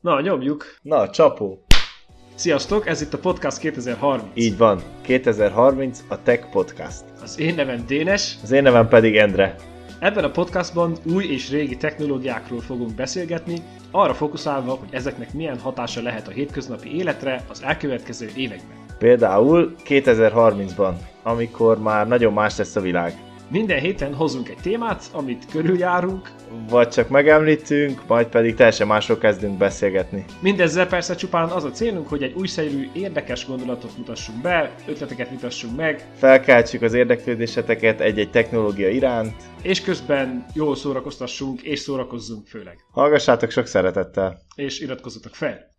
Na, nyomjuk! Na, csapó! Sziasztok, ez itt a Podcast 2030. Így van, 2030 a Tech Podcast. Az én nevem Dénes, Az én nevem pedig Endre. ebben a podcastban új és régi technológiákról fogunk beszélgetni, arra fókuszálva, hogy ezeknek milyen hatása lehet a hétköznapi életre az elkövetkező években. Például 2030-ban, amikor már nagyon más lesz a világ. Minden héten hozunk egy témát, amit körüljárunk, Vagy csak megemlítünk, majd pedig teljesen másról kezdünk beszélgetni. mindezzel persze csupán az a célunk, hogy egy újszerű, érdekes gondolatot mutassunk be, ötleteket mutassunk meg, Felkeltsük az érdeklődéseteket egy-egy technológia iránt. és közben jól szórakoztassunk és szórakozzunk főleg. Hallgassátok sok szeretettel! És iratkozzatok fel!